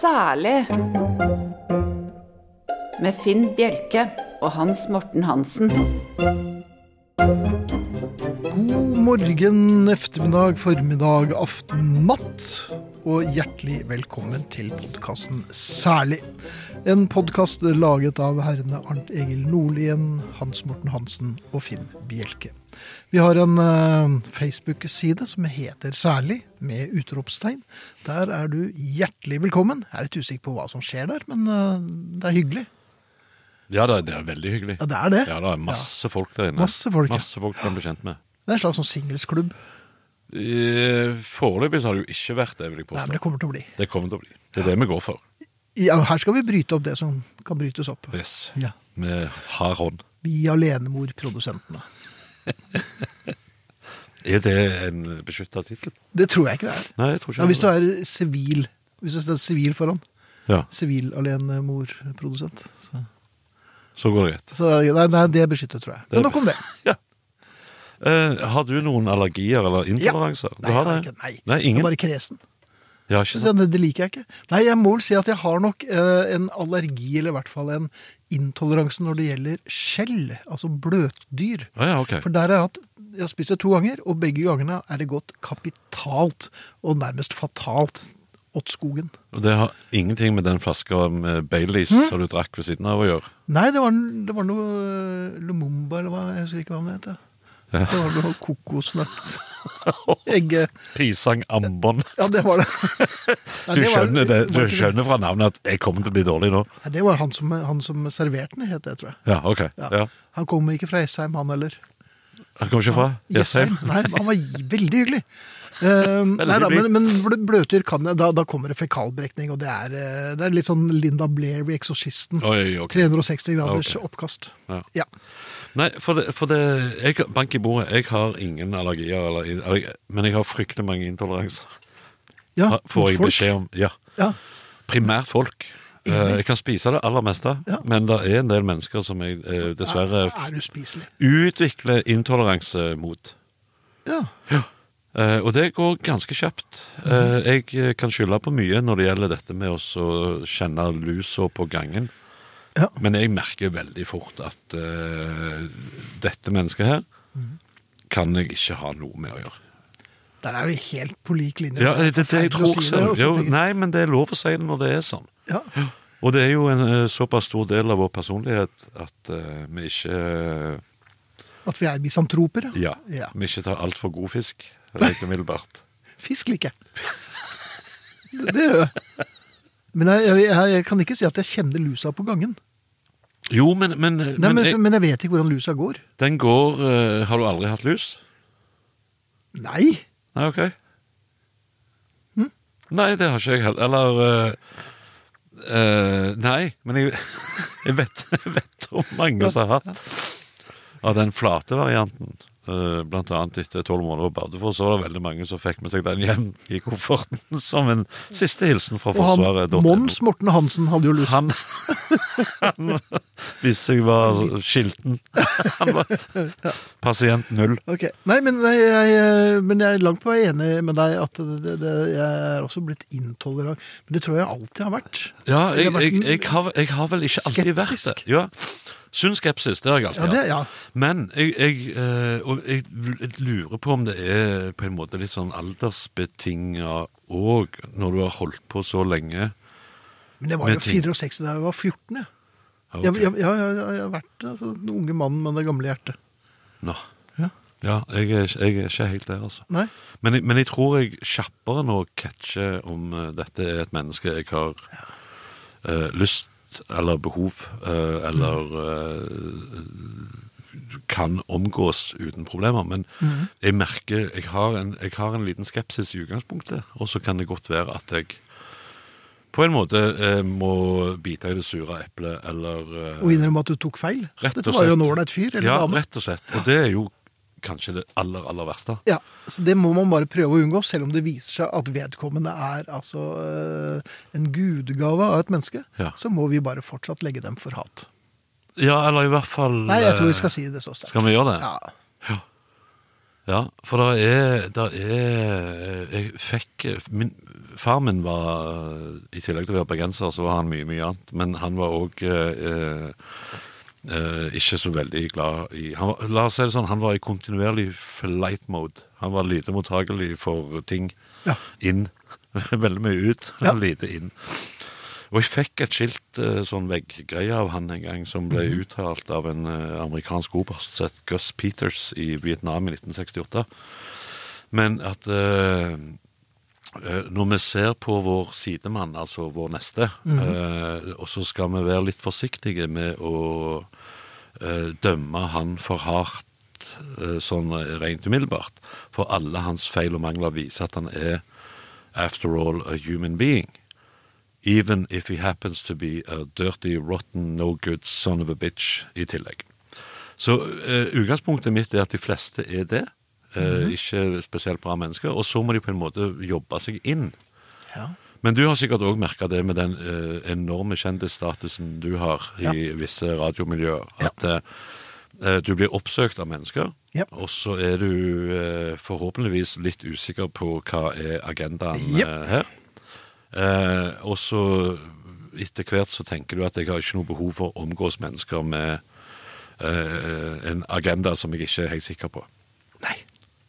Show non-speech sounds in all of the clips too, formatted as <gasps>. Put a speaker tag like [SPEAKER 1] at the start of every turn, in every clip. [SPEAKER 1] Særlig med Finn Bjelke og Hans Morten Hansen.
[SPEAKER 2] God morgen, eftermiddag, formiddag, aften, natt. Og hjertelig velkommen til podkasten Særlig. En podkast laget av herrene Arnt Egil Nordlien, Hans Morten Hansen og Finn Bjelke. Vi har en eh, Facebook-side som heter Særlig, med utropstegn. Der er du hjertelig velkommen. Jeg er litt usikker på hva som skjer der, men eh, det er hyggelig.
[SPEAKER 3] Ja, det er, det er veldig hyggelig.
[SPEAKER 2] Ja, det er det.
[SPEAKER 3] Ja, det er masse folk der inne.
[SPEAKER 2] Masse folk, ja.
[SPEAKER 3] Masse folk kan bli kjent med.
[SPEAKER 2] Det er en slags sånn singelsklubb.
[SPEAKER 3] Eh, Foreløpig så har det jo ikke vært det, vil jeg
[SPEAKER 2] Nei, men
[SPEAKER 3] påstå.
[SPEAKER 2] det kommer til å bli.
[SPEAKER 3] Det kommer til å bli. Det er det vi går for.
[SPEAKER 2] Ja, her skal vi bryte opp det som kan brytes opp.
[SPEAKER 3] Yes.
[SPEAKER 2] Ja.
[SPEAKER 3] Med hard hånd.
[SPEAKER 2] Vi alenemor-produsentene.
[SPEAKER 3] Er det en beskytta tittel?
[SPEAKER 2] Det tror jeg ikke det er.
[SPEAKER 3] Nei, jeg tror ikke
[SPEAKER 2] Ja, hvis du
[SPEAKER 3] det.
[SPEAKER 2] er sivil Hvis det er sivil foran.
[SPEAKER 3] Ja,
[SPEAKER 2] Sivil alenemor-produsent. Så,
[SPEAKER 3] så går det greit.
[SPEAKER 2] så er det, nei, nei, det er beskyttet, tror jeg.
[SPEAKER 3] Det er
[SPEAKER 2] Men nok om det.
[SPEAKER 3] Ja. Eh, har du noen allergier eller intoleranser? Du
[SPEAKER 2] Nei, jeg
[SPEAKER 3] har det?
[SPEAKER 2] har ikke- nei.
[SPEAKER 3] Nei,
[SPEAKER 2] Jeg er
[SPEAKER 3] ingen?
[SPEAKER 2] bare kresen.
[SPEAKER 3] Ja, ikke
[SPEAKER 2] Så
[SPEAKER 3] sant?
[SPEAKER 2] Det, det liker jeg ikke. Nei, jeg må vel si at jeg har nok eh, en allergi, eller i hvert fall en intoleranse når det gjelder skjell. Altså bløtdyr.
[SPEAKER 3] Å Ah, ja, ok.
[SPEAKER 2] For der har jeg hatt jeg har spist det to ganger, og begge gangene er det gått kapitalt og nærmest fatalt åt skogen.
[SPEAKER 3] Og Det har ingenting med den flaska med Baileys
[SPEAKER 2] Hm?
[SPEAKER 3] som du drakk ved siden av å gjøre.
[SPEAKER 2] Nei, det var, det var noe eh, Lumumba, eller hva, jeg husker ikke hva det het.
[SPEAKER 3] Ja.
[SPEAKER 2] Det var noe kokosnøtt. Egge.
[SPEAKER 3] Pisang ambon.
[SPEAKER 2] Ja, det var det. Nei,
[SPEAKER 3] Du
[SPEAKER 2] det var-
[SPEAKER 3] skjønner, det,
[SPEAKER 2] var
[SPEAKER 3] du
[SPEAKER 2] ikke
[SPEAKER 3] skjønner fra navnet at jeg kommer til å bli dårlig nå.
[SPEAKER 2] Nei, det var han som, han som serverte den, het det, tror jeg.
[SPEAKER 3] Ja, ok.
[SPEAKER 2] Ja.
[SPEAKER 3] Ja.
[SPEAKER 2] Han kom ikke fra Jessheim, han heller.
[SPEAKER 3] Han kommer ikke fra? Jessheim?
[SPEAKER 2] Nei, men han var veldig
[SPEAKER 3] <laughs>
[SPEAKER 2] hyggelig. Eh, nei, da, men,
[SPEAKER 3] hyggelig.
[SPEAKER 2] men bl- bløtdyr kan jeg, da, da kommer det fekalbrekning, og det er, eh, det er litt sånn Linda Blair i Eksorsisten.
[SPEAKER 3] Oi, ok.
[SPEAKER 2] 360 graders
[SPEAKER 3] Ok.
[SPEAKER 2] oppkast.
[SPEAKER 3] Ja.
[SPEAKER 2] Ja.
[SPEAKER 3] Nei, for det, for det jeg, Bank i bordet. Jeg har ingen allergier, eller, eller, men jeg har fryktelig mange intoleranser.
[SPEAKER 2] ja.
[SPEAKER 3] Får jeg
[SPEAKER 2] folk.
[SPEAKER 3] beskjed om. Ja.
[SPEAKER 2] Ja.
[SPEAKER 3] Primært folk. Eh, Jeg kan spise det aller meste,
[SPEAKER 2] Ja.
[SPEAKER 3] men det er en del mennesker som jeg eh, dessverre
[SPEAKER 2] Er, er uspiselig.
[SPEAKER 3] utvikler intoleranse mot.
[SPEAKER 2] Ja.
[SPEAKER 3] Eh, og det går ganske kjapt.
[SPEAKER 2] Mhm.
[SPEAKER 3] Eh, jeg eh, kan skylde på mye når det gjelder dette med også å kjenne lusa på gangen.
[SPEAKER 2] Ja.
[SPEAKER 3] Men jeg merker veldig fort at eh, dette mennesket her
[SPEAKER 2] Mhm.
[SPEAKER 3] kan jeg ikke ha noe med å gjøre.
[SPEAKER 2] Der er vi helt på lik linje.
[SPEAKER 3] Ja, det, det, det jeg
[SPEAKER 2] Forferdelig å
[SPEAKER 3] tror
[SPEAKER 2] si det,
[SPEAKER 3] selv.
[SPEAKER 2] og så
[SPEAKER 3] Jo,
[SPEAKER 2] tenker jeg-
[SPEAKER 3] nei, men det er lov å si det når det er sånn.
[SPEAKER 2] Ja.
[SPEAKER 3] Og det er jo en eh, såpass stor del av vår personlighet at eh, vi ikke
[SPEAKER 2] At vi er misantroper.
[SPEAKER 3] Ja,
[SPEAKER 2] Ja.
[SPEAKER 3] vi ikke tar altfor god fisk.
[SPEAKER 2] <laughs>
[SPEAKER 3] Rett umiddelbart.
[SPEAKER 2] Fisk liker jeg. Det gjør jeg. Men jeg, jeg, jeg kan ikke si at jeg kjenner lusa på gangen.
[SPEAKER 3] Jo, men, men,
[SPEAKER 2] Nei, men,
[SPEAKER 3] jeg-
[SPEAKER 2] men jeg vet ikke hvordan lusa går.
[SPEAKER 3] Den går eh, Har du aldri hatt lus?
[SPEAKER 2] Nei!
[SPEAKER 3] Nei, OK.
[SPEAKER 2] Hm?
[SPEAKER 3] Nei, det har ikke jeg heller. Eller eh, eh, Nei, men jeg, <laughs> jeg, vet, jeg vet om mange som har hatt av den flate varianten. eh, Blant annet etter tolv måneder på Bardufoss så var det veldig mange som fikk med seg den hjem i kofferten <laughs> som en siste hilsen fra
[SPEAKER 2] Og
[SPEAKER 3] Forsvaret.
[SPEAKER 2] han, Mons Morten Hansen hadde jo lus.
[SPEAKER 3] Han, <laughs> han viste seg å være skilten. <laughs> Han var pasient null.
[SPEAKER 2] Ok, Nei, men jeg, jeg, men jeg er langt på vei enig med deg at det, det, jeg er også blitt intolerant. Men det tror jeg alltid har vært.
[SPEAKER 3] Ja, jeg,
[SPEAKER 2] Eller vært
[SPEAKER 3] jeg, jeg, har, jeg har vel ikke alltid vært det.
[SPEAKER 2] Skeptisk.
[SPEAKER 3] Ja. Sunn skepsis, det har jeg alltid
[SPEAKER 2] Ja, det,
[SPEAKER 3] hatt.
[SPEAKER 2] ja.
[SPEAKER 3] Men jeg, jeg, eh, og jeg l- lurer på om det er på en måte litt sånn aldersbetinga òg, når du har holdt på så lenge.
[SPEAKER 2] Men jeg var
[SPEAKER 3] Med
[SPEAKER 2] jo
[SPEAKER 3] ting.
[SPEAKER 2] 64 da jeg var 14. Jeg,
[SPEAKER 3] Ja,
[SPEAKER 2] jeg,
[SPEAKER 3] ok.
[SPEAKER 2] jeg, jeg, jeg, jeg har vært altså, den unge mannen med det gamle hjertet.
[SPEAKER 3] Nå.
[SPEAKER 2] Ja.
[SPEAKER 3] Ja, jeg, er ikke- jeg er ikke helt der, altså.
[SPEAKER 2] Nei?
[SPEAKER 3] Men, jeg- men jeg tror jeg kjappere nå catcher om eh, dette er et menneske jeg har eh, lyst eller behov eh, eller eh, kan omgås uten problemer. Men
[SPEAKER 2] Mhm.
[SPEAKER 3] jeg merker jeg har, en, jeg har en liten skepsis i utgangspunktet, og så kan det godt være at jeg på en måte eh, må bite i det sure eplet, eller eh,
[SPEAKER 2] Og innrømme at du tok feil.
[SPEAKER 3] Rett og
[SPEAKER 2] Dette var jo
[SPEAKER 3] slett.
[SPEAKER 2] en ålreit fyr. Eller
[SPEAKER 3] Ja,
[SPEAKER 2] dame.
[SPEAKER 3] rett og slett. Og det er jo kanskje det aller, aller verste.
[SPEAKER 2] Ja, så Det må man bare prøve å unngå, selv om det viser seg at vedkommende er altså eh, en gudegave av et menneske.
[SPEAKER 3] Ja.
[SPEAKER 2] Så må vi bare fortsatt legge dem for hat.
[SPEAKER 3] Ja, eller i hvert fall
[SPEAKER 2] Nei, jeg tror vi
[SPEAKER 3] eh,
[SPEAKER 2] skal si det så sterkt.
[SPEAKER 3] Skal vi gjøre det?
[SPEAKER 2] Ja.
[SPEAKER 3] Ja. ja for det er, der er Jeg fikk min, Far min var, eh, i tillegg til å være bergenser, så var han mye, mye annet. Men han var òg eh, eh, ikke så veldig glad i han var, La oss si det sånn, han var i kontinuerlig flight mode. Han var lite mottagelig for ting
[SPEAKER 2] Ja.
[SPEAKER 3] inn. <laughs> Veldig mye ut,
[SPEAKER 2] Ja.
[SPEAKER 3] lite inn. Og jeg fikk et skilt, eh, sånn vegggreie av han en gang, som ble uttalt av en eh, amerikansk oberst, som het Gus Peters, i Vietnam i 1968. Men at eh, eh, når vi ser på vår sidemann, altså vår neste, eh, og så skal vi være litt forsiktige med å eh, dømme han for hardt eh, sånn eh, rent umiddelbart. For alle hans feil og mangler viser at han er after all a human being. Even if he happens to be a dirty, rotten, no good son of a bitch i tillegg. Så eh, utgangspunktet mitt er at de fleste er det. eh, Ikke spesielt bra mennesker. Og så må de på en måte jobbe seg inn. Men du har sikkert òg merka det med den eh, enorme kjendisstatusen du har i
[SPEAKER 2] Ja.
[SPEAKER 3] visse radiomiljøer. At eh, eh, du blir oppsøkt av mennesker,
[SPEAKER 2] Jep.
[SPEAKER 3] og så er du eh, forhåpentligvis litt usikker på hva er agendaen
[SPEAKER 2] Jep.
[SPEAKER 3] eh, her. Eh, og så etter hvert så tenker du at jeg har ikke noe behov for å omgås mennesker med eh, en agenda som jeg ikke er helt sikker på.
[SPEAKER 2] Nei.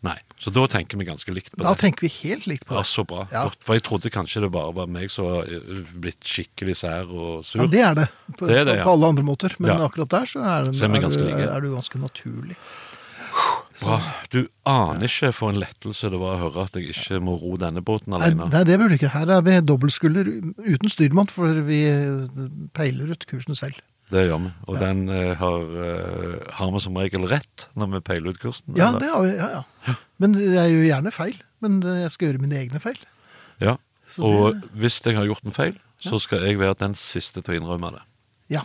[SPEAKER 3] Nei. Så da tenker vi ganske likt på
[SPEAKER 2] Da
[SPEAKER 3] det.
[SPEAKER 2] tenker vi helt likt på
[SPEAKER 3] Ja,
[SPEAKER 2] det.
[SPEAKER 3] så bra.
[SPEAKER 2] Ja.
[SPEAKER 3] Godt, For jeg trodde kanskje det bare var meg som var eh, blitt skikkelig sær og sur.
[SPEAKER 2] Ja, det er det. På,
[SPEAKER 3] Det er det, ja.
[SPEAKER 2] på alle andre måter. Men
[SPEAKER 3] Ja.
[SPEAKER 2] akkurat der så er, den,
[SPEAKER 3] Så er vi
[SPEAKER 2] er,
[SPEAKER 3] ganske
[SPEAKER 2] du,
[SPEAKER 3] like.
[SPEAKER 2] er du ganske naturlig.
[SPEAKER 3] bra.
[SPEAKER 2] sånn.
[SPEAKER 3] Du aner ikke for en lettelse det var å høre at jeg ikke må ro denne båten
[SPEAKER 2] Nei,
[SPEAKER 3] alene.
[SPEAKER 2] nei, det burde du ikke. Her er vi dobbeltskulder uten styrmann, for vi eh, peiler ut kursen selv.
[SPEAKER 3] Det gjør vi. Og den eh, har, eh, har vi som regel rett når vi peiler ut kursen.
[SPEAKER 2] Ja,
[SPEAKER 3] eller?
[SPEAKER 2] det har vi. Ja, ja. Men jeg gjør gjerne feil. Men eh, jeg skal gjøre mine egne feil.
[SPEAKER 3] Ja.
[SPEAKER 2] Så
[SPEAKER 3] Og
[SPEAKER 2] det-
[SPEAKER 3] hvis jeg har gjort en feil, så skal jeg være den siste til å innrømme det.
[SPEAKER 2] Ja.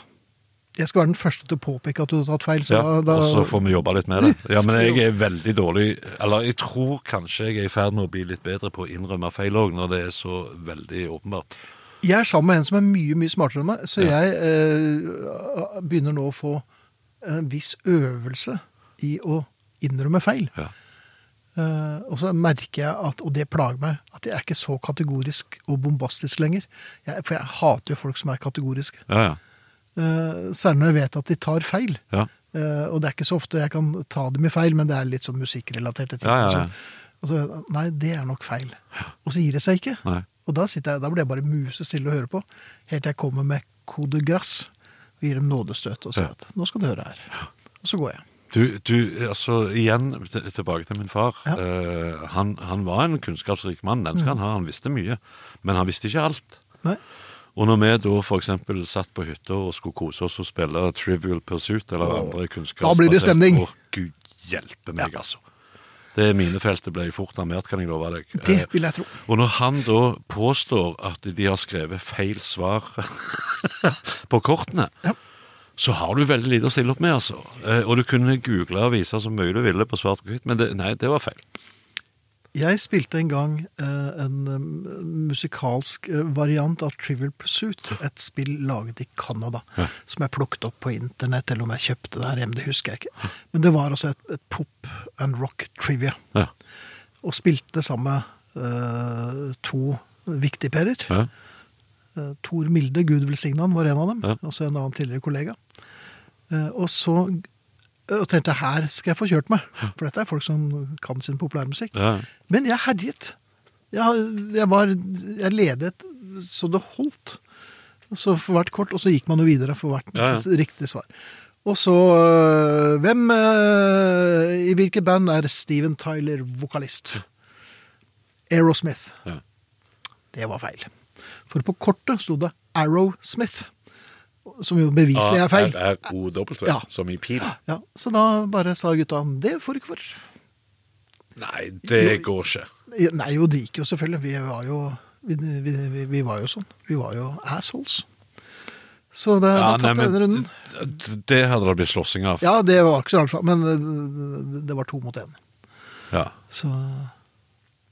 [SPEAKER 2] Jeg skal være den første til å påpeke at du har tatt feil. Så
[SPEAKER 3] Ja,
[SPEAKER 2] da,
[SPEAKER 3] og så får vi jobbe litt med det.
[SPEAKER 2] <laughs>
[SPEAKER 3] Ja, Men jeg er veldig dårlig Eller jeg tror kanskje jeg er i ferd med å bli litt bedre på å innrømme feil òg, når det er så veldig åpenbart.
[SPEAKER 2] Jeg er sammen med en som er mye mye smartere enn meg, så jeg eh, begynner nå å få en viss øvelse i å innrømme feil.
[SPEAKER 3] Ja.
[SPEAKER 2] Eh, og så merker jeg, at, og det plager meg, at jeg er ikke så kategorisk og bombastisk lenger. Jeg, for jeg hater jo folk som er kategoriske.
[SPEAKER 3] Ja, ja.
[SPEAKER 2] Eh, særlig når jeg vet at de tar feil.
[SPEAKER 3] ja.
[SPEAKER 2] Eh, og det er ikke så ofte jeg kan ta dem i feil, men det er litt sånn musikkrelaterte ting.
[SPEAKER 3] Ja, ja, ja.
[SPEAKER 2] og så- og så, nei, det er nok feil. Og så gir det seg ikke.
[SPEAKER 3] Nei.
[SPEAKER 2] Og da, sitter jeg, da blir jeg bare musestille og hører på, helt til jeg kommer med kode grass og gir dem nådestøt og sier
[SPEAKER 3] Ja.
[SPEAKER 2] at nå skal du høre her. Og så går jeg.
[SPEAKER 3] Du, du, altså igjen til- tilbake til min far.
[SPEAKER 2] Ja. Mm.
[SPEAKER 3] Eh, han, han var en kunnskapsrik mann, den skal han ha. Han visste mye, men han visste ikke alt.
[SPEAKER 2] Nei.
[SPEAKER 3] Og når vi da f.eks. satt på hytta og skulle kose oss og spille Trivial Pursuit eller andre kunnskapsbaserte
[SPEAKER 2] Da blir det stemning.
[SPEAKER 3] Å, Gud hjelpe meg, altså. Det minefeltet ble fort armert, kan jeg love deg.
[SPEAKER 2] Det
[SPEAKER 3] Eh,
[SPEAKER 2] vil jeg tro.
[SPEAKER 3] og når han da påstår at de har skrevet feil svar <laughs> på kortene,
[SPEAKER 2] Ja.
[SPEAKER 3] så har du veldig lite å stille opp med, altså. Eh, Og du kunne google og vise så mye du ville på svart og hvitt, men det, nei, det var feil.
[SPEAKER 2] Jeg spilte en gang eh, en eh, musikalsk eh, variant av Trivial Pursuit, et spill laget i Canada, som jeg plukket opp på internett, eller om jeg kjøpte det her hjemme, det husker jeg ikke. Men det var altså et, et pop and rock trivia,
[SPEAKER 3] Ja.
[SPEAKER 2] og spilte det sammen med eh, to viktigperer.
[SPEAKER 3] Ja.
[SPEAKER 2] Eh, Tor Milde, Gud velsigne han, var en av dem,
[SPEAKER 3] Ja.
[SPEAKER 2] altså en annen tidligere kollega. Eh, Og så eh, og tenkte jeg, her skal jeg få kjørt meg, for dette er folk som kan sin populærmusikk.
[SPEAKER 3] Ja.
[SPEAKER 2] Men jeg herjet. Jeg, jeg, var, jeg ledet så det holdt. Så for hvert kort, og så gikk man jo videre for hvert
[SPEAKER 3] Ja, ja.
[SPEAKER 2] riktig svar. Og så øh, Hvem øh, i hvilket band er Steven Tyler vokalist? Aerosmith.
[SPEAKER 3] Ja.
[SPEAKER 2] Det var feil. For på kortet sto det Arrowsmith, som jo
[SPEAKER 3] Ah,
[SPEAKER 2] beviselig er feil.
[SPEAKER 3] R-O-W,
[SPEAKER 2] Ja.
[SPEAKER 3] som i
[SPEAKER 2] <gasps>
[SPEAKER 3] pil.
[SPEAKER 2] Ja, så da bare sa gutta det får du ikke for.
[SPEAKER 3] Nei, det går ikke.
[SPEAKER 2] Nei, jo, det gikk jo selvfølgelig. Vi var jo, vi, vi, vi, vi var jo sånn. Vi var jo assholes. Så det,
[SPEAKER 3] Ja,
[SPEAKER 2] da tapte jeg den runden.
[SPEAKER 3] d- det hadde det blitt slåssing av.
[SPEAKER 2] Ja, det var ikke så langt fra, men øh, det var to mot én.
[SPEAKER 3] Ja.
[SPEAKER 2] Så Nei,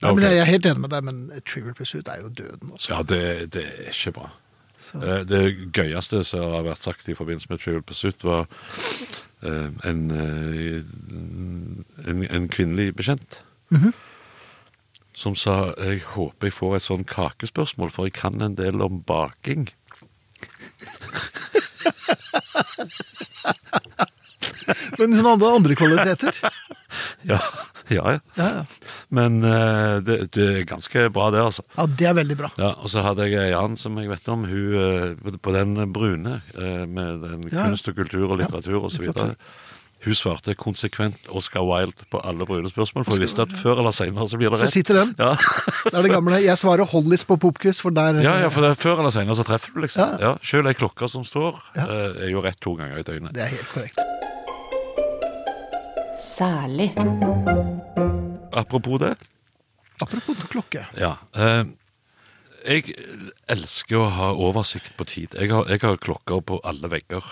[SPEAKER 3] Ja, ok.
[SPEAKER 2] men Jeg er helt enig med deg, men Trivial Pursuit er jo døden, altså.
[SPEAKER 3] Ja, det, det er ikke bra.
[SPEAKER 2] Så-
[SPEAKER 3] Eh, Det gøyeste som har vært sagt i forbindelse med Trivial Pursuit, var eh, en, eh, en, en kvinnelig bekjent som sa jeg håper jeg får et sånn kakespørsmål, for jeg kan en del om baking. <laughs>
[SPEAKER 2] Men hun hadde andre
[SPEAKER 3] <laughs>
[SPEAKER 2] kvaliteter.
[SPEAKER 3] Ja, ja. ja.
[SPEAKER 2] Ja, ja.
[SPEAKER 3] Men eh, det, det er ganske bra, det, altså.
[SPEAKER 2] ja, det er veldig bra.
[SPEAKER 3] Ja, Og så hadde jeg ei annen som jeg vet om, hun eh, på- på den brune, eh, med den
[SPEAKER 2] Ja.
[SPEAKER 3] kunst og kultur og litteratur og så videre.
[SPEAKER 2] litteratur.
[SPEAKER 3] Hun svarte konsekvent Oscar Wilde på alle brune spørsmål, for hun visste at før eller senere så blir det
[SPEAKER 2] Så
[SPEAKER 3] rett.
[SPEAKER 2] sitter den.
[SPEAKER 3] Ja, <laughs>
[SPEAKER 2] Det er det gamle. Jeg svarer Hollis på Popquiz, for der
[SPEAKER 3] ja, ja for det er før eller senere så treffer du, liksom.
[SPEAKER 2] Ja.
[SPEAKER 3] Ja, Sjøl ei klokke som står,
[SPEAKER 2] Ja.
[SPEAKER 3] eh, er jo rett to ganger i
[SPEAKER 2] eh,
[SPEAKER 3] døgnet.
[SPEAKER 2] Det er helt korrekt.
[SPEAKER 1] Særlig.
[SPEAKER 3] Apropos det.
[SPEAKER 2] Apropos klokke.
[SPEAKER 3] Ja. Eh, jeg elsker å ha oversikt på tid. Jeg har, jeg har klokker på alle vegger.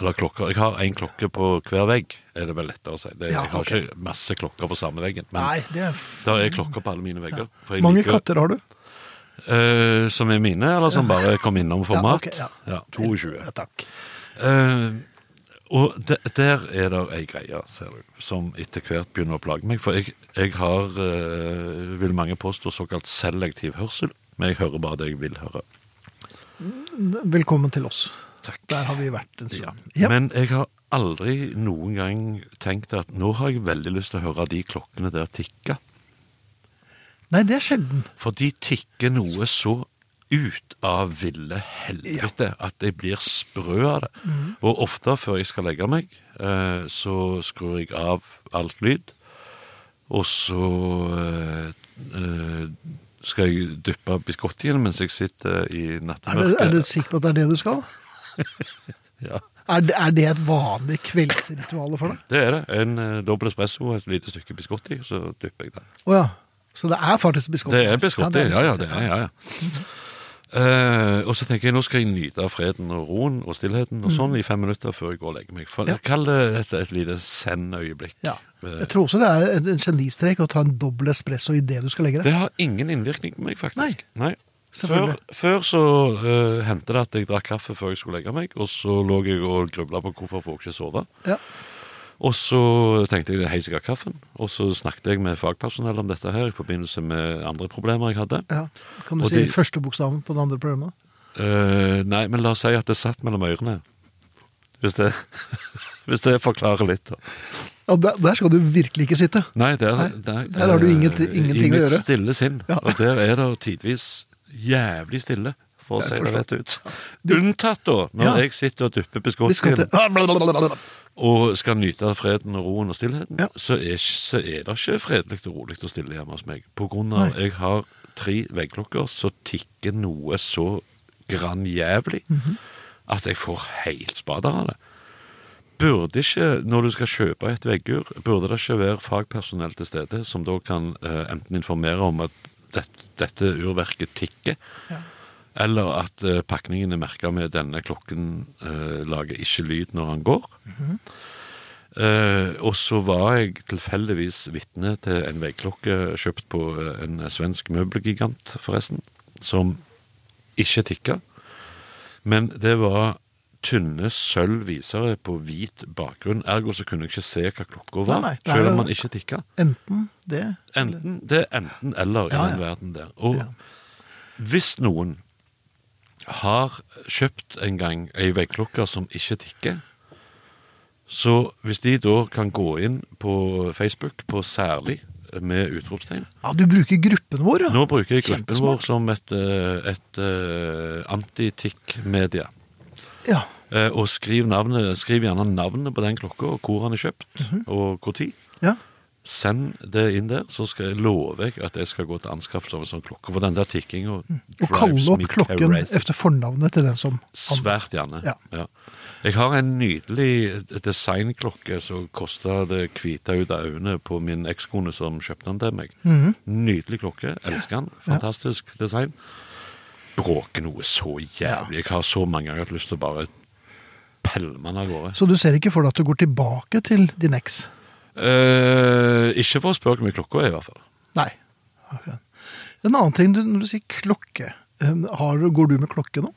[SPEAKER 3] Eller klokker. Jeg har én klokke på hver vegg, er det vel lettere å si. Det,
[SPEAKER 2] Ja,
[SPEAKER 3] jeg har
[SPEAKER 2] ok.
[SPEAKER 3] ikke masse klokker på samme veggen, men
[SPEAKER 2] Nei, det er
[SPEAKER 3] der er klokker på alle mine vegger. For jeg
[SPEAKER 2] Mange
[SPEAKER 3] liker-
[SPEAKER 2] katter har du?
[SPEAKER 3] Eh, som er mine, eller som bare kom innom for
[SPEAKER 2] Ja,
[SPEAKER 3] mat.
[SPEAKER 2] ok, ja.
[SPEAKER 3] ja, 22.
[SPEAKER 2] Ja, takk.
[SPEAKER 3] Eh, og de, der er det ei greie, ser du, som etter hvert begynner å plage meg. For jeg, jeg har, eh, vil mange påstå, såkalt selektiv hørsel. Men jeg hører bare det jeg vil høre.
[SPEAKER 2] Velkommen til oss.
[SPEAKER 3] Takk.
[SPEAKER 2] Der har vi vært en
[SPEAKER 3] Ja.
[SPEAKER 2] stund. Ja.
[SPEAKER 3] Men jeg har aldri noen gang tenkt at nå har jeg veldig lyst til å høre de klokkene der tikke.
[SPEAKER 2] Nei, det er sjelden.
[SPEAKER 3] For de tikker noe så ut av ville helvete at jeg blir sprø av det.
[SPEAKER 2] Mhm.
[SPEAKER 3] Og ofte før jeg skal legge meg, eh, så skrur jeg av alt lyd. Og så eh, eh, skal jeg dyppe biscottien mens jeg sitter i
[SPEAKER 2] Er du,
[SPEAKER 3] nattmørket.
[SPEAKER 2] er du sikker på at det er det du skal?
[SPEAKER 3] Ja,
[SPEAKER 2] Er det, er det et vanlig kveldsritual for deg?
[SPEAKER 3] det er det. En eh, dobbel espresso og et lite stykke biscotti, så dypper jeg det.
[SPEAKER 2] Å ja. Så det er faktisk biscotti?
[SPEAKER 3] Det er biscotti, ja, ja, det er, ja, ja. Eh, og så tenker jeg nå skal jeg nyte av freden og roen og stillheten og sånn i fem minutter før jeg går og legger meg. For,
[SPEAKER 2] Mm. Ja.
[SPEAKER 3] Kall det et, et lite send-øyeblikk.
[SPEAKER 2] Ja.
[SPEAKER 3] Eh,
[SPEAKER 2] Jeg tror også det er en- en genistrek å ta en dobbel espresso idet du skal legge
[SPEAKER 3] det
[SPEAKER 2] deg.
[SPEAKER 3] har ingen innvirkning på meg, faktisk. Nei. Før,
[SPEAKER 2] Selvfølgelig.
[SPEAKER 3] før så eh, hendte det at jeg drakk kaffe før jeg skulle legge meg, og så lå jeg og grubla på hvorfor får jeg ikke sove.
[SPEAKER 2] Ja.
[SPEAKER 3] Og så tenkte jeg det er helt sikkert kaffen, og så snakket jeg med fagpersonell om dette her i forbindelse med andre problemer jeg hadde.
[SPEAKER 2] Ja. Kan du
[SPEAKER 3] Og
[SPEAKER 2] si
[SPEAKER 3] de-
[SPEAKER 2] første bokstaven på det andre programmet?
[SPEAKER 3] Eh, nei, men la oss si at det satt mellom ørene. Hvis det, <laughs> hvis det forklarer litt. da.
[SPEAKER 2] Ja, der, der skal du virkelig ikke sitte.
[SPEAKER 3] Nei, der,
[SPEAKER 2] Nei,
[SPEAKER 3] der,
[SPEAKER 2] der har du inget-
[SPEAKER 3] eh,
[SPEAKER 2] ingenting
[SPEAKER 3] I
[SPEAKER 2] å
[SPEAKER 3] mitt
[SPEAKER 2] gjøre.
[SPEAKER 3] stille sinn.
[SPEAKER 2] Ja.
[SPEAKER 3] Og der er det tidvis jævlig stille, for å
[SPEAKER 2] Jeg
[SPEAKER 3] si det
[SPEAKER 2] forstår.
[SPEAKER 3] rett ut. Unntatt da, når
[SPEAKER 2] Ja.
[SPEAKER 3] jeg sitter og dupper
[SPEAKER 2] Biscotti. Ah,
[SPEAKER 3] biscottien og skal nyte av freden og roen og stillheten,
[SPEAKER 2] Ja.
[SPEAKER 3] så, er, ikke- så er det ikke fredelig og rolig og stille hjemme hos meg. På grunn av jeg har tre veggklokker som tikker noe så granjævlig at jeg får helt spader av det. Burde ikke, når du skal kjøpe et veggur, burde det ikke være fagpersonell til stede som da kan eh, enten informere om at dette, dette urverket tikker, eller at eh, pakningen er merka med denne klokken eh, lager ikke lyd når han går.
[SPEAKER 2] Mhm.
[SPEAKER 3] Eh, og så var jeg tilfeldigvis vitne til en veggklokke kjøpt på eh, en svensk møbelgigant, forresten, som ikke tikka. Men det var tynne sølvvisere på hvit bakgrunn, ergo så kunne jeg ikke se hva klokka var,
[SPEAKER 2] Nei, nei, det er
[SPEAKER 3] selv om
[SPEAKER 2] jo-
[SPEAKER 3] man ikke tikka.
[SPEAKER 2] Enten det
[SPEAKER 3] Enten, det er enten
[SPEAKER 2] Ja,
[SPEAKER 3] eller i den
[SPEAKER 2] ja.
[SPEAKER 3] verden der. Og
[SPEAKER 2] Ja.
[SPEAKER 3] hvis noen har kjøpt en gang ei veggklokke som ikke tikker, så hvis de da kan gå inn på Facebook på særlig med utropstegn
[SPEAKER 2] Ja, du bruker gruppen vår, ja.
[SPEAKER 3] Nå bruker jeg gruppen
[SPEAKER 2] Kjempesmart.
[SPEAKER 3] vår som et, eh, et eh, antitikk-media.
[SPEAKER 2] ja.
[SPEAKER 3] Eh, Og skriv, navnet, skriv gjerne navnet på den klokka, og hvor han er kjøpt,
[SPEAKER 2] Mhm.
[SPEAKER 3] og hvor tid.
[SPEAKER 2] ja.
[SPEAKER 3] Send det inn der, så skal jeg love jeg at jeg skal gå til anskaffelse av en sånn klokke. For den der tikkinga
[SPEAKER 2] Mm. Og kalle opp klokken etter fornavnet til den som
[SPEAKER 3] Svært gjerne.
[SPEAKER 2] Ja.
[SPEAKER 3] Ja. Jeg har en nydelig designklokke som kosta det hvite ut av øynene på min ekskone som kjøpte den til meg.
[SPEAKER 2] Mhm.
[SPEAKER 3] Nydelig klokke. Elsker den. Fantastisk design. Bråker noe så jævlig. Jeg har så mange ganger hatt lyst til å bare pelle den av gårde.
[SPEAKER 2] Så du ser ikke for deg at du går tilbake til din eks?
[SPEAKER 3] Eh, ikke for å spørre hvor mye klokka er, i hvert fall.
[SPEAKER 2] Nei. Akkurat. En annen ting, du, når du sier klokke, eh, har, du- går du med klokke nå?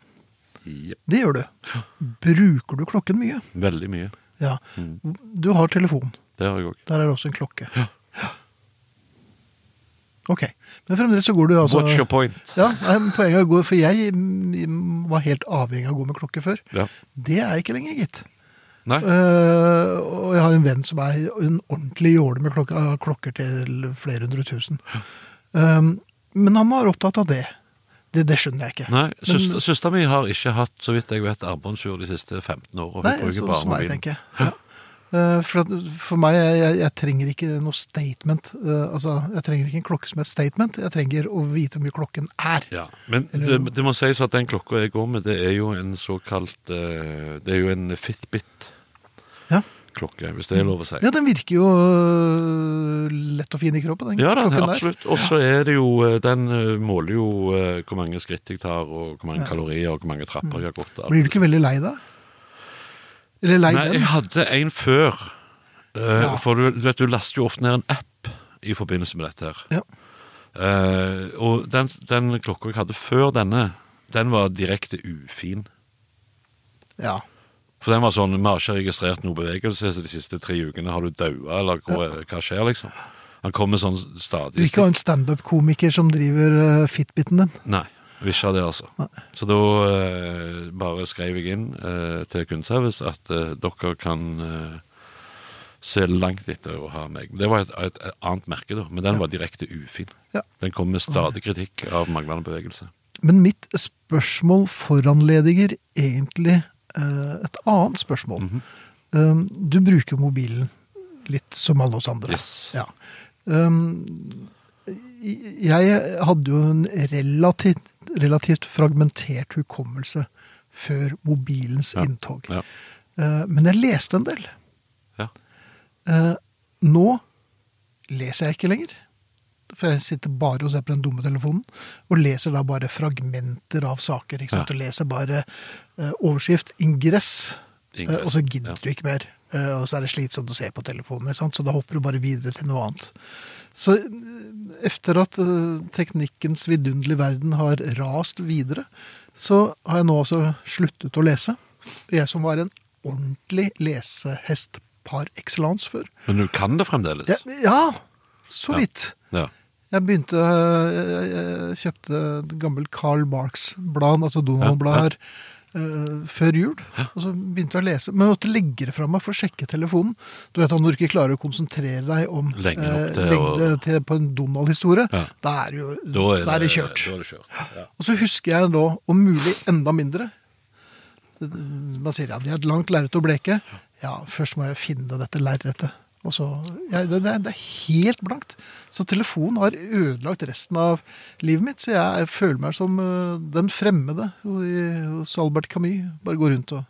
[SPEAKER 3] Ja.
[SPEAKER 2] Det gjør du. Bruker du klokken mye?
[SPEAKER 3] Veldig mye.
[SPEAKER 2] Ja.
[SPEAKER 3] Mm.
[SPEAKER 2] Du har telefon.
[SPEAKER 3] Det har jeg òg.
[SPEAKER 2] Der er det også en klokke. Ja. Ok. Men fremdeles så går du altså
[SPEAKER 3] What's your point?
[SPEAKER 2] Ja, nei, men poenget går, for jeg mm, var helt avhengig av å gå med klokke før.
[SPEAKER 3] Ja.
[SPEAKER 2] Det er jeg ikke lenger, gitt.
[SPEAKER 3] Nei?
[SPEAKER 2] Eh, og jeg har en venn som er en ordentlig jåle med klokker, har klokker til flere hundre tusen. Um, men han var opptatt av det. Det, det skjønner jeg ikke.
[SPEAKER 3] Nei, søster, søster mi har ikke hatt, så vidt jeg vet, armbåndsur de siste 15 år, og hun
[SPEAKER 2] Nei,
[SPEAKER 3] bruker
[SPEAKER 2] så,
[SPEAKER 3] bare
[SPEAKER 2] som jeg
[SPEAKER 3] mobilen.
[SPEAKER 2] tenker. Ja. Eh, for, at, for meg, jeg, jeg, jeg trenger ikke noe statement. Eh, altså, jeg trenger ikke en klokke som er et statement. Jeg trenger å vite hvor mye klokken er.
[SPEAKER 3] Ja, Men det, det må sies at den klokka jeg går med, det er jo en såkalt eh, Det er jo en Fitbit-klokke,
[SPEAKER 2] Ja.
[SPEAKER 3] hvis det er lov å si.
[SPEAKER 2] ja, den virker jo øh, lett og fin i kroppen, den
[SPEAKER 3] Ja da,
[SPEAKER 2] klokken der.
[SPEAKER 3] absolutt. Og så er det jo eh, Den eh, måler jo eh, hvor mange skritt jeg tar, og hvor mange kalorier, og hvor mange trapper jeg har gått. og alt
[SPEAKER 2] Blir du ikke veldig lei deg? Eller lei
[SPEAKER 3] Nei,
[SPEAKER 2] den?
[SPEAKER 3] jeg hadde en før. eh,
[SPEAKER 2] Ja.
[SPEAKER 3] For du, du vet, du laster jo ofte ned en app i forbindelse med dette her.
[SPEAKER 2] Ja.
[SPEAKER 3] Eh, og den, den klokka jeg hadde før denne, den var direkte ufin.
[SPEAKER 2] ja.
[SPEAKER 3] For den var sånn, vi har ikke registrert noe bevegelse så de siste tre ukene. Har du daua, eller hva, hva skjer, liksom? Han kommer sånn
[SPEAKER 2] Du vil
[SPEAKER 3] stadig.
[SPEAKER 2] ikke ha en standup-komiker som driver øh, fitbiten din?
[SPEAKER 3] Nei, vi ikke ha det, altså.
[SPEAKER 2] Nei.
[SPEAKER 3] Så da eh, bare skrev jeg inn eh, til kundeservice at eh, dere kan eh, se langt etter å ha meg. Det var et, et, et annet merke, da, men den var direkte ufin.
[SPEAKER 2] Ja.
[SPEAKER 3] Den kom med stadig kritikk av manglende bevegelse.
[SPEAKER 2] Men mitt spørsmål foranlediger egentlig eh, et annet spørsmål.
[SPEAKER 3] Mhm.
[SPEAKER 2] Um, du bruker mobilen litt som alle oss andre.
[SPEAKER 3] Yes.
[SPEAKER 2] Ja. Um, jeg hadde jo en relativt, relativt fragmentert hukommelse før mobilens
[SPEAKER 3] Ja.
[SPEAKER 2] inntog.
[SPEAKER 3] Ja.
[SPEAKER 2] Eh, men jeg leste en del.
[SPEAKER 3] Ja.
[SPEAKER 2] Eh, nå leser jeg ikke lenger. For jeg sitter bare og ser på den dumme telefonen. Og leser da bare fragmenter av saker. ikke sant?
[SPEAKER 3] Ja.
[SPEAKER 2] Og leser bare eh, overskrift, ingress, eh,
[SPEAKER 3] Ingress,
[SPEAKER 2] og så gidder
[SPEAKER 3] ja.
[SPEAKER 2] du ikke mer. Eh, og så er det slitsomt å se på telefonen, ikke sant? så da hopper du bare videre til noe annet. Så eh, efter at eh, teknikkens vidunderlige verden har rast videre, så har jeg nå altså sluttet å lese. Jeg som var en ordentlig lesehest par excellence før.
[SPEAKER 3] Men du kan det fremdeles?
[SPEAKER 2] Ja, ja så
[SPEAKER 3] Ja.
[SPEAKER 2] vidt.
[SPEAKER 3] Ja.
[SPEAKER 2] Jeg begynte jeg, jeg kjøpte et gammelt Carl Barks-blad, altså
[SPEAKER 3] Ja, ja.
[SPEAKER 2] Donald-blad, her eh, før jul. Og så begynte jeg å lese. Men jeg måtte legge det fra meg for å sjekke telefonen. Du vet at når du ikke klarer å konsentrere deg om
[SPEAKER 3] Lenge nok
[SPEAKER 2] eh,
[SPEAKER 3] til å-
[SPEAKER 2] lengde til, på en Donald-historie,
[SPEAKER 3] Ja.
[SPEAKER 2] da er det jo
[SPEAKER 3] Da er det,
[SPEAKER 2] da er det kjørt.
[SPEAKER 3] Da er det kjørt. Ja.
[SPEAKER 2] Og så husker jeg da, om mulig enda mindre Man sier ja, de har et langt lerret å bleke. Ja, først må jeg finne dette lerretet. Og så, ja, det, det, er- det er helt blankt. Så telefonen har ødelagt resten av livet mitt. Så jeg føler meg som øh, den fremmede i- hos Albert Camus. Bare går rundt og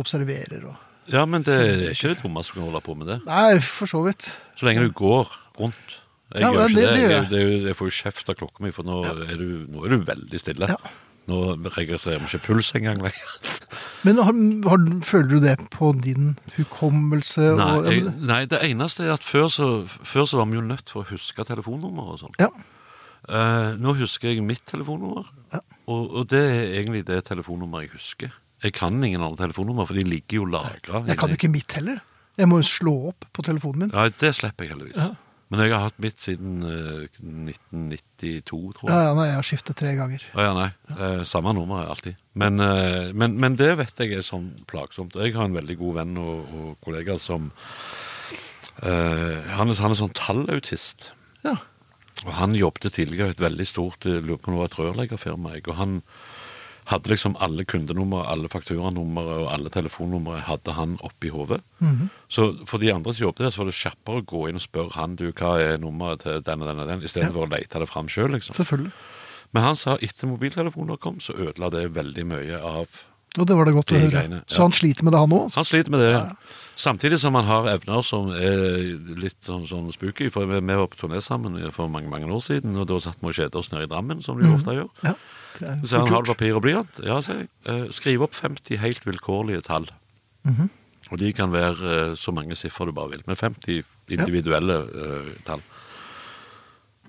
[SPEAKER 2] observerer og
[SPEAKER 3] ja, men det er ikke det dummeste som kan holde på med det.
[SPEAKER 2] Nei, for så vidt.
[SPEAKER 3] Så lenge du går rundt. Jeg
[SPEAKER 2] Ja,
[SPEAKER 3] gjør
[SPEAKER 2] men
[SPEAKER 3] ikke
[SPEAKER 2] det-
[SPEAKER 3] det.
[SPEAKER 2] det gjør
[SPEAKER 3] Jeg,
[SPEAKER 2] jeg.
[SPEAKER 3] det er jo- jeg får jo kjeft av klokka mi, for nå, er, du, nå er du veldig stille.
[SPEAKER 2] Ja.
[SPEAKER 3] Nå registrerer vi ikke puls engang lenger.
[SPEAKER 2] <laughs> Men har, har, føler du det på din hukommelse?
[SPEAKER 3] Nei,
[SPEAKER 2] og,
[SPEAKER 3] jeg, nei, det eneste er at før så, før så var vi jo nødt for å huske telefonnummer og sånn.
[SPEAKER 2] ja,
[SPEAKER 3] Eh, nå husker jeg mitt telefonnummer,
[SPEAKER 2] Ja.
[SPEAKER 3] og, og det er egentlig det telefonnummeret jeg husker. Jeg kan ingen andre telefonnummer, for de ligger jo lagra.
[SPEAKER 2] jeg kan jo ikke mitt heller. Jeg må jo slå opp på telefonen min.
[SPEAKER 3] Nei, det slipper jeg heldigvis.
[SPEAKER 2] Ja.
[SPEAKER 3] Men jeg har hatt mitt siden eh, 1992, tror jeg.
[SPEAKER 2] Ja, ja, nei, jeg har skiftet tre ganger.
[SPEAKER 3] Å ja, nei. Eh, samme nummer er alltid. Men, eh, men, men det vet jeg er sånn plagsomt. Jeg har en veldig god venn og, og kollega som eh, han, er, han er sånn tallautist.
[SPEAKER 2] Ja.
[SPEAKER 3] Og han jobbet tidligere i et veldig stort jeg lurer på om det var et rørleggerfirma. jeg, Og han hadde liksom alle kundenummer, alle fakturanumre og alle telefonnumre hadde han oppi hodet. Så for de andre som jobbet der, så var det kjappere å gå inn og spørre han du, hva er nummeret til den og den og den, istedenfor å lete det fram sjøl. Liksom.
[SPEAKER 2] Selvfølgelig.
[SPEAKER 3] Men han sa etter mobiltelefoner kom, så ødela det veldig mye av
[SPEAKER 2] Og det var det godt å
[SPEAKER 3] De
[SPEAKER 2] høre.
[SPEAKER 3] greiene, ja.
[SPEAKER 2] Så han sliter med det, han òg?
[SPEAKER 3] Han sliter med det. Samtidig som han har evner som er litt sånn, sånn spooky. For vi vi var på turné sammen for mange mange år siden, og da satt vi og kjeda oss nede i Drammen, som de jo ofte gjør.
[SPEAKER 2] Ja. det er jo
[SPEAKER 3] Så han
[SPEAKER 2] fort
[SPEAKER 3] har
[SPEAKER 2] gjort.
[SPEAKER 3] papir og blyant. Ja, sier jeg. Eh, Skriv opp 50 helt vilkårlige tall. Og de kan være eh, så mange siffer du bare vil. Men 50 individuelle eh, tall.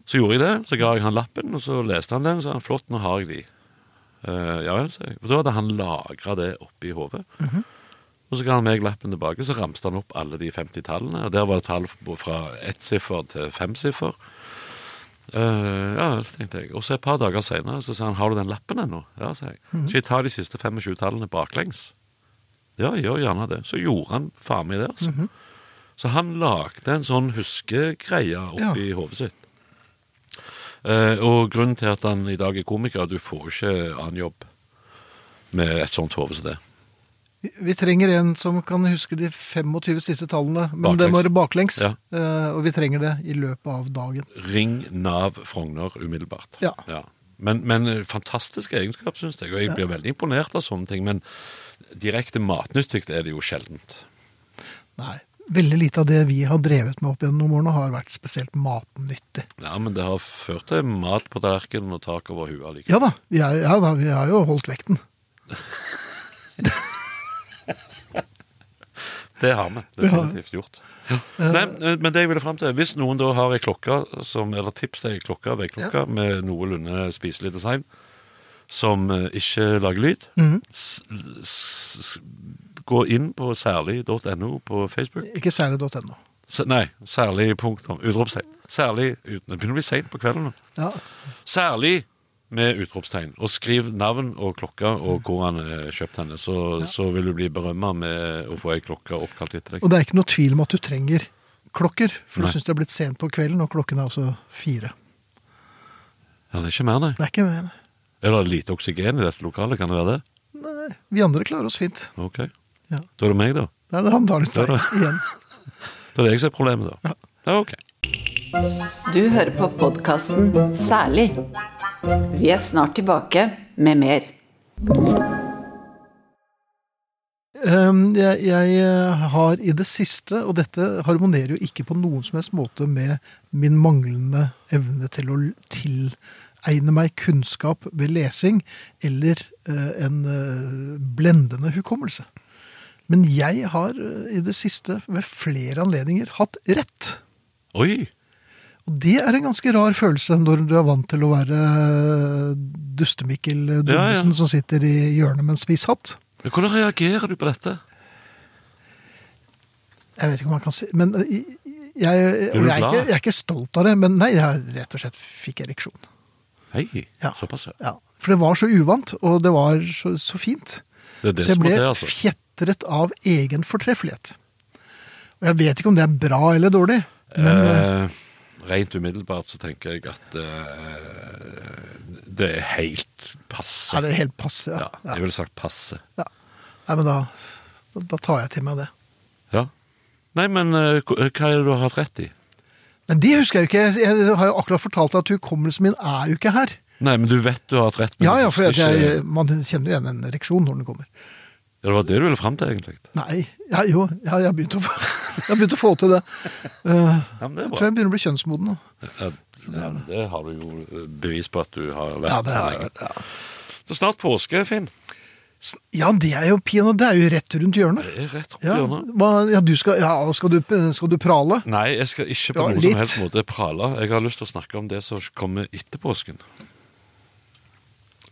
[SPEAKER 3] Så gjorde jeg det. Så ga jeg han lappen, og så leste han den. Så sa han flott, nå har jeg de. Eh, ja vel, sier jeg. For da hadde han lagra det oppi hodet. Og så ga han meg lappen tilbake, så ramste han opp alle de 50 tallene. Og der var det tall fra ett siffer til fem siffer. Eh, ja, det tenkte jeg. Og så et par dager senere så sa han har du den lappen ennå. Ja, sa jeg. Skal jeg ta de siste 25 tallene baklengs? Ja, gjør gjerne det. Så gjorde han faen meg det. altså. Så han lagde en sånn huskegreie oppi hodet sitt. Eh, og grunnen til at han i dag er komiker, er at du får ikke annen jobb med et sånt hode som det.
[SPEAKER 2] Vi- Vi trenger en som kan huske de 25 siste tallene, men det må være baklengs.
[SPEAKER 3] Ja.
[SPEAKER 2] eh, Og vi trenger det i løpet av dagen.
[SPEAKER 3] Ring Nav Frogner umiddelbart.
[SPEAKER 2] Ja.
[SPEAKER 3] Men, men eh, fantastiske egenskap, syns jeg. Og jeg blir veldig imponert av sånne ting. Men direkte matnyttig er det jo sjeldent.
[SPEAKER 2] Nei, veldig lite av det vi har drevet med opp gjennom årene har vært spesielt matnyttig.
[SPEAKER 3] Ja, men det har ført til mat på tallerkenen og tak over huet allikevel.
[SPEAKER 2] Ja da, vi er, ja da, vi har jo holdt vekten.
[SPEAKER 3] Det har vi definitivt gjort. Nei, men det jeg ville frem til, hvis noen da har ei klokke, som, eller tips til ei klokke, veiklokke, med noenlunde spiselig design, som eh, ikke lager lyd, s s gå inn på særlig.no på Facebook.
[SPEAKER 2] Ikke særlig.no.
[SPEAKER 3] S nei, særlig punktum. Utropstegn. Særlig uten Det begynner å bli seint på kvelden. nå.
[SPEAKER 2] Ja.
[SPEAKER 3] Særlig med utropstegn. Og skriv navn og klokke og hvor han eh, kjøpte henne. Så, så vil du bli berømma med å få ei klokke oppkalt etter deg.
[SPEAKER 2] Og det er ikke noe tvil om at du trenger klokker, for
[SPEAKER 3] Nei.
[SPEAKER 2] du syns det er blitt sent på kvelden, og klokken er altså fire.
[SPEAKER 3] Ja, det er ikke mer, nei.
[SPEAKER 2] Det er ikke mer.
[SPEAKER 3] Er det lite oksygen i dette lokalet? Kan det være det?
[SPEAKER 2] Nei, vi andre klarer oss fint.
[SPEAKER 3] Ok.
[SPEAKER 2] Ja.
[SPEAKER 3] Da er det meg, da.
[SPEAKER 2] Det er det han tar litt
[SPEAKER 3] Det er
[SPEAKER 2] deg igjen.
[SPEAKER 3] Da er det jeg som er problemet, da. Ja, ok.
[SPEAKER 1] Du hører på podkasten Særlig. Vi er snart tilbake med mer.
[SPEAKER 2] Ehm, Jeg, jeg eh, har i det siste, og dette harmonerer jo ikke på noen som helst måte med min manglende evne til å l- tilegne meg kunnskap ved lesing, eller eh, en eh, blendende hukommelse. Men jeg har eh, i det siste ved flere anledninger hatt rett.
[SPEAKER 3] Oi!
[SPEAKER 2] Og det er en ganske rar følelse når du er vant til å være Dustemikkel Dunnesen
[SPEAKER 3] Ja, ja.
[SPEAKER 2] som sitter i hjørnet med en spiss hatt.
[SPEAKER 3] Men Hvordan reagerer du på dette?
[SPEAKER 2] Jeg vet ikke om man kan si Men jeg, jeg,
[SPEAKER 3] Blir
[SPEAKER 2] og
[SPEAKER 3] du
[SPEAKER 2] jeg, er,
[SPEAKER 3] glad?
[SPEAKER 2] ikke, jeg er ikke stolt av det, men nei, jeg rett og slett fikk ereksjon.
[SPEAKER 3] Hei,
[SPEAKER 2] Ja.
[SPEAKER 3] såpass, ja.
[SPEAKER 2] Ja. For det var så uvant, og det var så, så fint.
[SPEAKER 3] Det er det
[SPEAKER 2] Så jeg
[SPEAKER 3] som må
[SPEAKER 2] ble
[SPEAKER 3] til, altså.
[SPEAKER 2] fjetret av egen fortreffelighet. Og jeg vet ikke om det er bra eller dårlig.
[SPEAKER 3] Eh, rent umiddelbart så tenker jeg at eh, det er helt passe.
[SPEAKER 2] Er det helt passe?
[SPEAKER 3] Eh, Ja,
[SPEAKER 2] Ja. ja.
[SPEAKER 3] jeg ville sagt passe.
[SPEAKER 2] ja. Nei, men da, da tar jeg til meg det.
[SPEAKER 3] Ja. Nei, men eh, hva hva er det du har hatt rett i?
[SPEAKER 2] Nei, det husker jeg jo ikke. Jeg har jo akkurat fortalt deg at hukommelsen min er jo ikke her.
[SPEAKER 3] Nei, men du vet du har hatt rett. men
[SPEAKER 2] Ja,
[SPEAKER 3] du
[SPEAKER 2] ja, for
[SPEAKER 3] husker
[SPEAKER 2] at jeg,
[SPEAKER 3] ikke-
[SPEAKER 2] man kjenner jo igjen en ereksjon når den kommer.
[SPEAKER 3] Ja, Det var det du ville fram til, egentlig.
[SPEAKER 2] Nei, ja, jo, ja, jeg har begynt å få, <laughs> jeg har begynt å få til det. Eh,
[SPEAKER 3] Ja, men det
[SPEAKER 2] jeg
[SPEAKER 3] er
[SPEAKER 2] tror
[SPEAKER 3] bra.
[SPEAKER 2] jeg begynner å bli kjønnsmoden nå.
[SPEAKER 3] Ja, ja, men det har du jo eh, bevis på at du har vært.
[SPEAKER 2] Ja, det har jeg
[SPEAKER 3] lenge. Så snart påske, Finn.
[SPEAKER 2] S- Ja, det er jo pino, det er jo rett rundt hjørnet.
[SPEAKER 3] Det er rett rundt
[SPEAKER 2] Ja,
[SPEAKER 3] hjørnet.
[SPEAKER 2] hva, ja, du skal, ja og skal, du, skal du prale?
[SPEAKER 3] Nei, jeg skal ikke på
[SPEAKER 2] Ja,
[SPEAKER 3] noen
[SPEAKER 2] litt.
[SPEAKER 3] som helst måte prale. Jeg har lyst til å snakke om det som kommer etter påsken.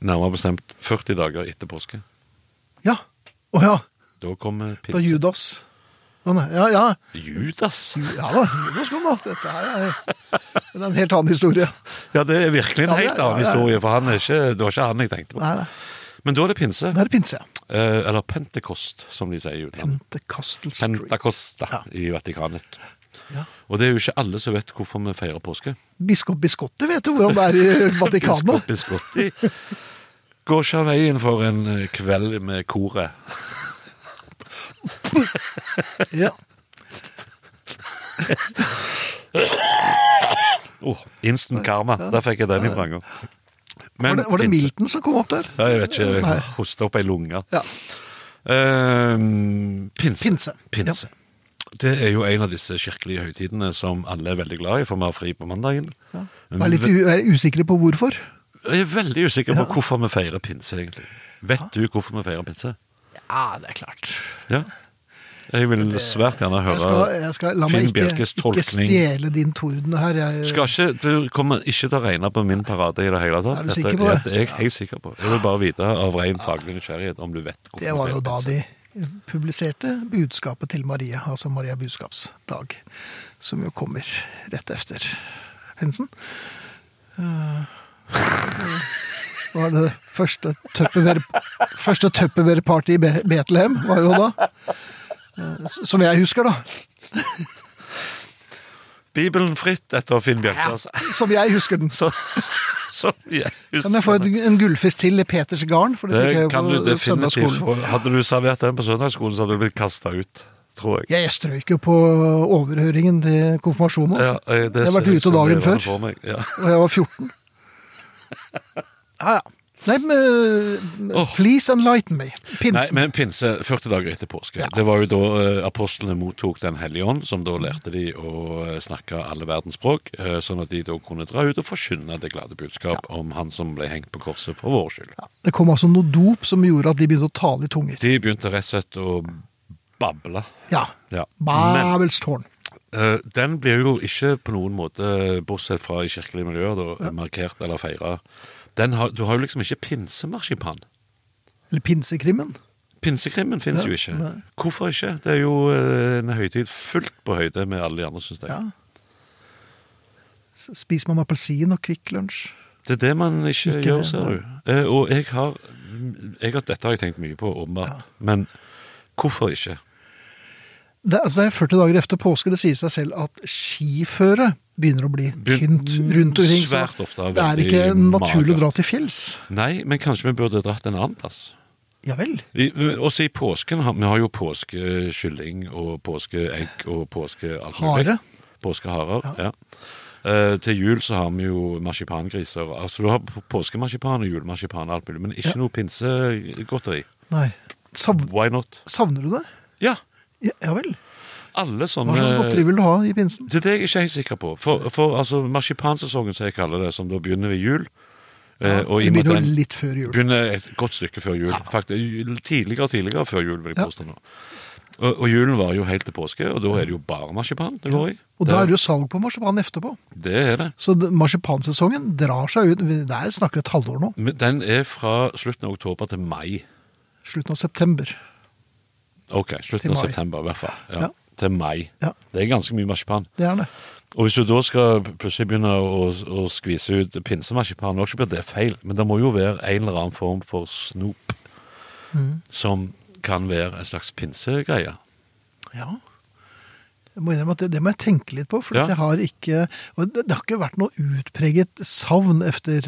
[SPEAKER 3] Nærmere bestemt 40 dager etter påske.
[SPEAKER 2] Ja. Å ja,
[SPEAKER 3] Da kommer
[SPEAKER 2] da
[SPEAKER 3] pinse.
[SPEAKER 2] Judas. Å nei, ja, ja.
[SPEAKER 3] Judas?
[SPEAKER 2] Ja da, Judas kom da. Dette her er, det er en helt annen historie.
[SPEAKER 3] Ja, det er virkelig
[SPEAKER 2] Ja,
[SPEAKER 3] en
[SPEAKER 2] det er-
[SPEAKER 3] helt annen
[SPEAKER 2] ja, det er-
[SPEAKER 3] historie, for han er ikke, det var ikke han jeg tenkte på.
[SPEAKER 2] Nei, nei.
[SPEAKER 3] Men da er det pinse.
[SPEAKER 2] Det er pinse, ja.
[SPEAKER 3] Eh, eller pentekost, som de sier i utlandet.
[SPEAKER 2] Pentecostal Street.
[SPEAKER 3] Pentakosta
[SPEAKER 2] Ja.
[SPEAKER 3] i Vatikanet.
[SPEAKER 2] Ja.
[SPEAKER 3] Og det er jo ikke alle som vet hvorfor vi feirer påske.
[SPEAKER 2] Biskop Biscotti vet jo hvordan det er i
[SPEAKER 3] <laughs>
[SPEAKER 2] Vatikanet.
[SPEAKER 3] Biskop Biscotti går ikke av veien for en eh, kveld med koret.
[SPEAKER 2] Ja.
[SPEAKER 3] Oh, instant karma. Der fikk jeg den i vranga.
[SPEAKER 2] Var
[SPEAKER 3] Men
[SPEAKER 2] det, var det
[SPEAKER 3] pinse-
[SPEAKER 2] Milton som kom opp der?
[SPEAKER 3] Ja, jeg vet ikke.
[SPEAKER 2] Nei.
[SPEAKER 3] jeg Hosta opp ei lunge.
[SPEAKER 2] Ja.
[SPEAKER 3] Eh, pinse.
[SPEAKER 2] Pinse.
[SPEAKER 3] Pinse. Det er jo en av disse kirkelige høytidene som alle er veldig glad i, for vi har fri på mandagen.
[SPEAKER 2] Vær litt u er usikre på hvorfor.
[SPEAKER 3] Jeg er veldig usikker på hvorfor vi feirer pinse, egentlig. Vet du hvorfor vi feirer pinse?
[SPEAKER 2] Ja, det er klart.
[SPEAKER 3] Ja. Jeg vil svært gjerne høre
[SPEAKER 2] Jeg skal, jeg skal, la meg
[SPEAKER 3] Finn
[SPEAKER 2] ikke,
[SPEAKER 3] Bjelkes
[SPEAKER 2] ikke
[SPEAKER 3] tolkning.
[SPEAKER 2] stjele din torden her. Jeg,
[SPEAKER 3] Skal ikke, du kommer ikke til å regne på min parade i det hele tatt.
[SPEAKER 2] Er du
[SPEAKER 3] Dette-
[SPEAKER 2] sikker på det?
[SPEAKER 3] Dette er jeg helt sikker på. Jeg vil bare vite av ren faglig nysgjerrighet om du vet hvorfor
[SPEAKER 2] det var jo da
[SPEAKER 3] feirer pinse.
[SPEAKER 2] de publiserte budskapet til Maria, altså Maria budskapsdag, som jo kommer rett efter hensen. Det var det første Tupperware- første Tupperware-party i Be- Betlehem, var jo da. Eh, s- Som jeg husker, da.
[SPEAKER 3] Bibelen fritt etter Finn Bjørkas.
[SPEAKER 2] Som jeg husker den.
[SPEAKER 3] <laughs> Så, så jeg husker
[SPEAKER 2] Kan jeg få et, en gullfisk til i Peters garn? For det, fikk jeg
[SPEAKER 3] det
[SPEAKER 2] jo
[SPEAKER 3] kan du
[SPEAKER 2] på
[SPEAKER 3] definitivt
[SPEAKER 2] søndagsskolen.
[SPEAKER 3] få. Hadde du servert den på søndagsskolen, så hadde du blitt kasta ut, tror jeg.
[SPEAKER 2] Jeg strøyk jo på overhøringen til konfirmasjonen.
[SPEAKER 3] Ja,
[SPEAKER 2] også,
[SPEAKER 3] eh, det
[SPEAKER 2] Jeg har
[SPEAKER 3] ser
[SPEAKER 2] vært
[SPEAKER 3] jeg
[SPEAKER 2] ute
[SPEAKER 3] som
[SPEAKER 2] dagen
[SPEAKER 3] det var
[SPEAKER 2] før.
[SPEAKER 3] for meg, Ja.
[SPEAKER 2] Og jeg var 14. Ja, ja. Nei, men eh,
[SPEAKER 3] Åh.
[SPEAKER 2] Please enlighten me.
[SPEAKER 3] Nei,
[SPEAKER 2] Pinsen.
[SPEAKER 3] men pinse 40 dager etter påske.
[SPEAKER 2] Ja.
[SPEAKER 3] Det var jo da eh, apostlene mottok Den hellige ånd, som da lærte de å eh, snakke alle verdens språk, eh, sånn at de da kunne dra ut og forkynne det glade budskap om han som ble hengt på korset for vår skyld.
[SPEAKER 2] Det kom altså noe dop som gjorde at de begynte å tale i tunger.
[SPEAKER 3] De begynte rett og slett å bable.
[SPEAKER 2] Ja.
[SPEAKER 3] Ja. Men
[SPEAKER 2] Babels tårn.
[SPEAKER 3] eh, den blir jo ikke på noen måte, bortsett fra i kirkelige miljøer, da, markert eller feira. Den har, du har jo liksom ikke pinsemarsipan.
[SPEAKER 2] Eller pinsekrimmen.
[SPEAKER 3] Pinsekrimmen fins jo ikke. Hvorfor ikke? Det er jo eh, en høytid fullt på høyde med alle de andre, syns jeg.
[SPEAKER 2] Ja. S- Spiser man appelsin og Kvikk Lunsj?
[SPEAKER 3] Det er det man ikke,
[SPEAKER 2] Ikke
[SPEAKER 3] gjør,
[SPEAKER 2] det,
[SPEAKER 3] ser
[SPEAKER 2] nei.
[SPEAKER 3] du. Eh, og jeg har, jeg har Dette har jeg tenkt mye på, åpenbart. Men hvorfor ikke?
[SPEAKER 2] Det, altså, det er 40 dager efter påske. Det sier seg selv at skiføre begynner å bli
[SPEAKER 3] Begyn-
[SPEAKER 2] tynt rundt omkring. så
[SPEAKER 3] Svært ofte
[SPEAKER 2] Det er
[SPEAKER 3] veldig
[SPEAKER 2] ikke naturlig
[SPEAKER 3] magert.
[SPEAKER 2] å dra til fjells.
[SPEAKER 3] Nei, men kanskje vi burde dratt en annen plass?
[SPEAKER 2] Ja vel.
[SPEAKER 3] I, også i påsken har Vi har jo påskekylling og påskeegg og påske alt mulig.
[SPEAKER 2] Hare.
[SPEAKER 3] Påskeharer. Ja. Eh, til jul så har vi jo marsipangriser. Altså Du har p- påskemarsipan og julemarsipan og alt mulig, men ikke
[SPEAKER 2] Ja.
[SPEAKER 3] noe pinsegodteri.
[SPEAKER 2] Nei. Sav,
[SPEAKER 3] Why not?
[SPEAKER 2] savner du det?
[SPEAKER 3] Ja,
[SPEAKER 2] Ja, ja vel.
[SPEAKER 3] alle sånne
[SPEAKER 2] Hva slags godteri vil du ha i pinsen?
[SPEAKER 3] Det er det jeg ikke er helt sikker på. For, for altså, marsipansesongen, som jeg kaller det, som da begynner ved jul eh, og
[SPEAKER 2] Det
[SPEAKER 3] i og med at
[SPEAKER 2] begynner
[SPEAKER 3] den
[SPEAKER 2] jo litt før jul.
[SPEAKER 3] begynner et godt stykke før jul. Faktisk, tidligere og tidligere før jul, vil jeg
[SPEAKER 2] Ja.
[SPEAKER 3] påstå nå. Og, og julen varer jo helt til påske, og da er det jo bare marsipan det går i.
[SPEAKER 2] Og da er
[SPEAKER 3] det,
[SPEAKER 2] det jo salg på marsipan etterpå.
[SPEAKER 3] det er det.
[SPEAKER 2] Så det- marsipansesongen drar seg ut. Vi- Der snakker vi et halvår nå.
[SPEAKER 3] Men den er fra slutten av oktober til mai.
[SPEAKER 2] Slutten av september.
[SPEAKER 3] Ok,
[SPEAKER 2] Til
[SPEAKER 3] slutten av
[SPEAKER 2] mai.
[SPEAKER 3] september i hvert fall. Ja.
[SPEAKER 2] Ja.
[SPEAKER 3] Til mai.
[SPEAKER 2] Ja.
[SPEAKER 3] Det er ganske mye marsipan.
[SPEAKER 2] Det er det.
[SPEAKER 3] Og hvis du da skal plutselig begynne å, å skvise ut pinsemarsipan, nå blir det feil, men det må jo være en eller annen form for snop
[SPEAKER 2] Mm.
[SPEAKER 3] som kan være en slags pinsegreie.
[SPEAKER 2] Ja. Jeg må innrømme at det, det må jeg tenke litt på, for
[SPEAKER 3] Ja.
[SPEAKER 2] at jeg har ikke, og det, det har ikke vært noe utpreget savn etter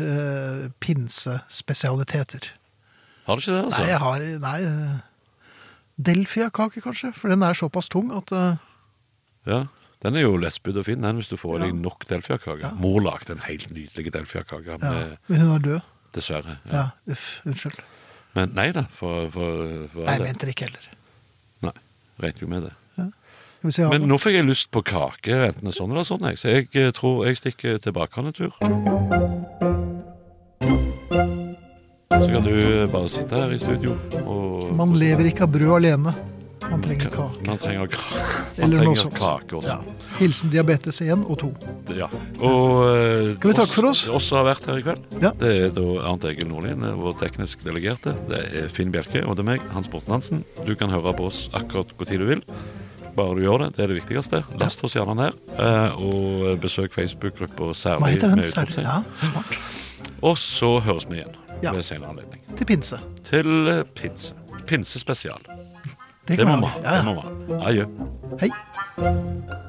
[SPEAKER 2] eh, pinsespesialiteter.
[SPEAKER 3] Har du ikke det, altså?
[SPEAKER 2] Nei, jeg har nei, eh, Delfia-kake, kanskje, for den er såpass tung at eh,
[SPEAKER 3] Ja, Den er jo lettspydd og fin, den, hvis du får i deg nok delfiakake.
[SPEAKER 2] Ja.
[SPEAKER 3] Mor lagde en helt nydelig delfiakake,
[SPEAKER 2] ja,
[SPEAKER 3] med-
[SPEAKER 2] Men hun er død.
[SPEAKER 3] dessverre.
[SPEAKER 2] Ja,
[SPEAKER 3] Eh. Ja.
[SPEAKER 2] uff, unnskyld.
[SPEAKER 3] Men nei da, for, for, for
[SPEAKER 2] Nei, jeg
[SPEAKER 3] alle.
[SPEAKER 2] mente det ikke heller.
[SPEAKER 3] Nei, regnet jo med det.
[SPEAKER 2] Skal vi se, ja.
[SPEAKER 3] Men nå fikk jeg lyst på kake, enten det er sånn eller sånn, jeg. så jeg eh, tror jeg stikker tilbake en tur. Så kan du eh, bare sitte her i studio og
[SPEAKER 2] Man lever ikke av brød alene. Man trenger kake.
[SPEAKER 3] Man trenger, ka- man
[SPEAKER 2] Eller noe
[SPEAKER 3] trenger
[SPEAKER 2] sånt.
[SPEAKER 3] kake også.
[SPEAKER 2] Ja. Hilsen diabetes 1 og 2.
[SPEAKER 3] Ja. Og, eh,
[SPEAKER 2] Skal vi takke for oss?
[SPEAKER 3] Oss har vært her i kveld.
[SPEAKER 2] Ja.
[SPEAKER 3] Det er da Arnt Egil Nordlien, eh, vår teknisk delegerte. Det er Finn Bjelke, og det er meg, Hans Borten Hansen. Du kan høre på oss akkurat hvor tid du vil. Bare du gjør det. Det er det viktigste. Last oss gjerne ned. eh, Og besøk Facebook-gruppa
[SPEAKER 2] Hva
[SPEAKER 3] særlig.
[SPEAKER 2] heter den?
[SPEAKER 3] med
[SPEAKER 2] Særlig?
[SPEAKER 3] utropstegn.
[SPEAKER 2] Ja, smart.
[SPEAKER 3] Og så høres vi igjen
[SPEAKER 2] Ja.
[SPEAKER 3] ved senere anledning.
[SPEAKER 2] Til pinse.
[SPEAKER 3] Til eh, pinse. Pinsespesial. Det
[SPEAKER 2] kan
[SPEAKER 3] må
[SPEAKER 2] vi
[SPEAKER 3] vi
[SPEAKER 2] ha. Ja, ja.
[SPEAKER 3] ha. Det må vi ha. Adjø.
[SPEAKER 2] Hei.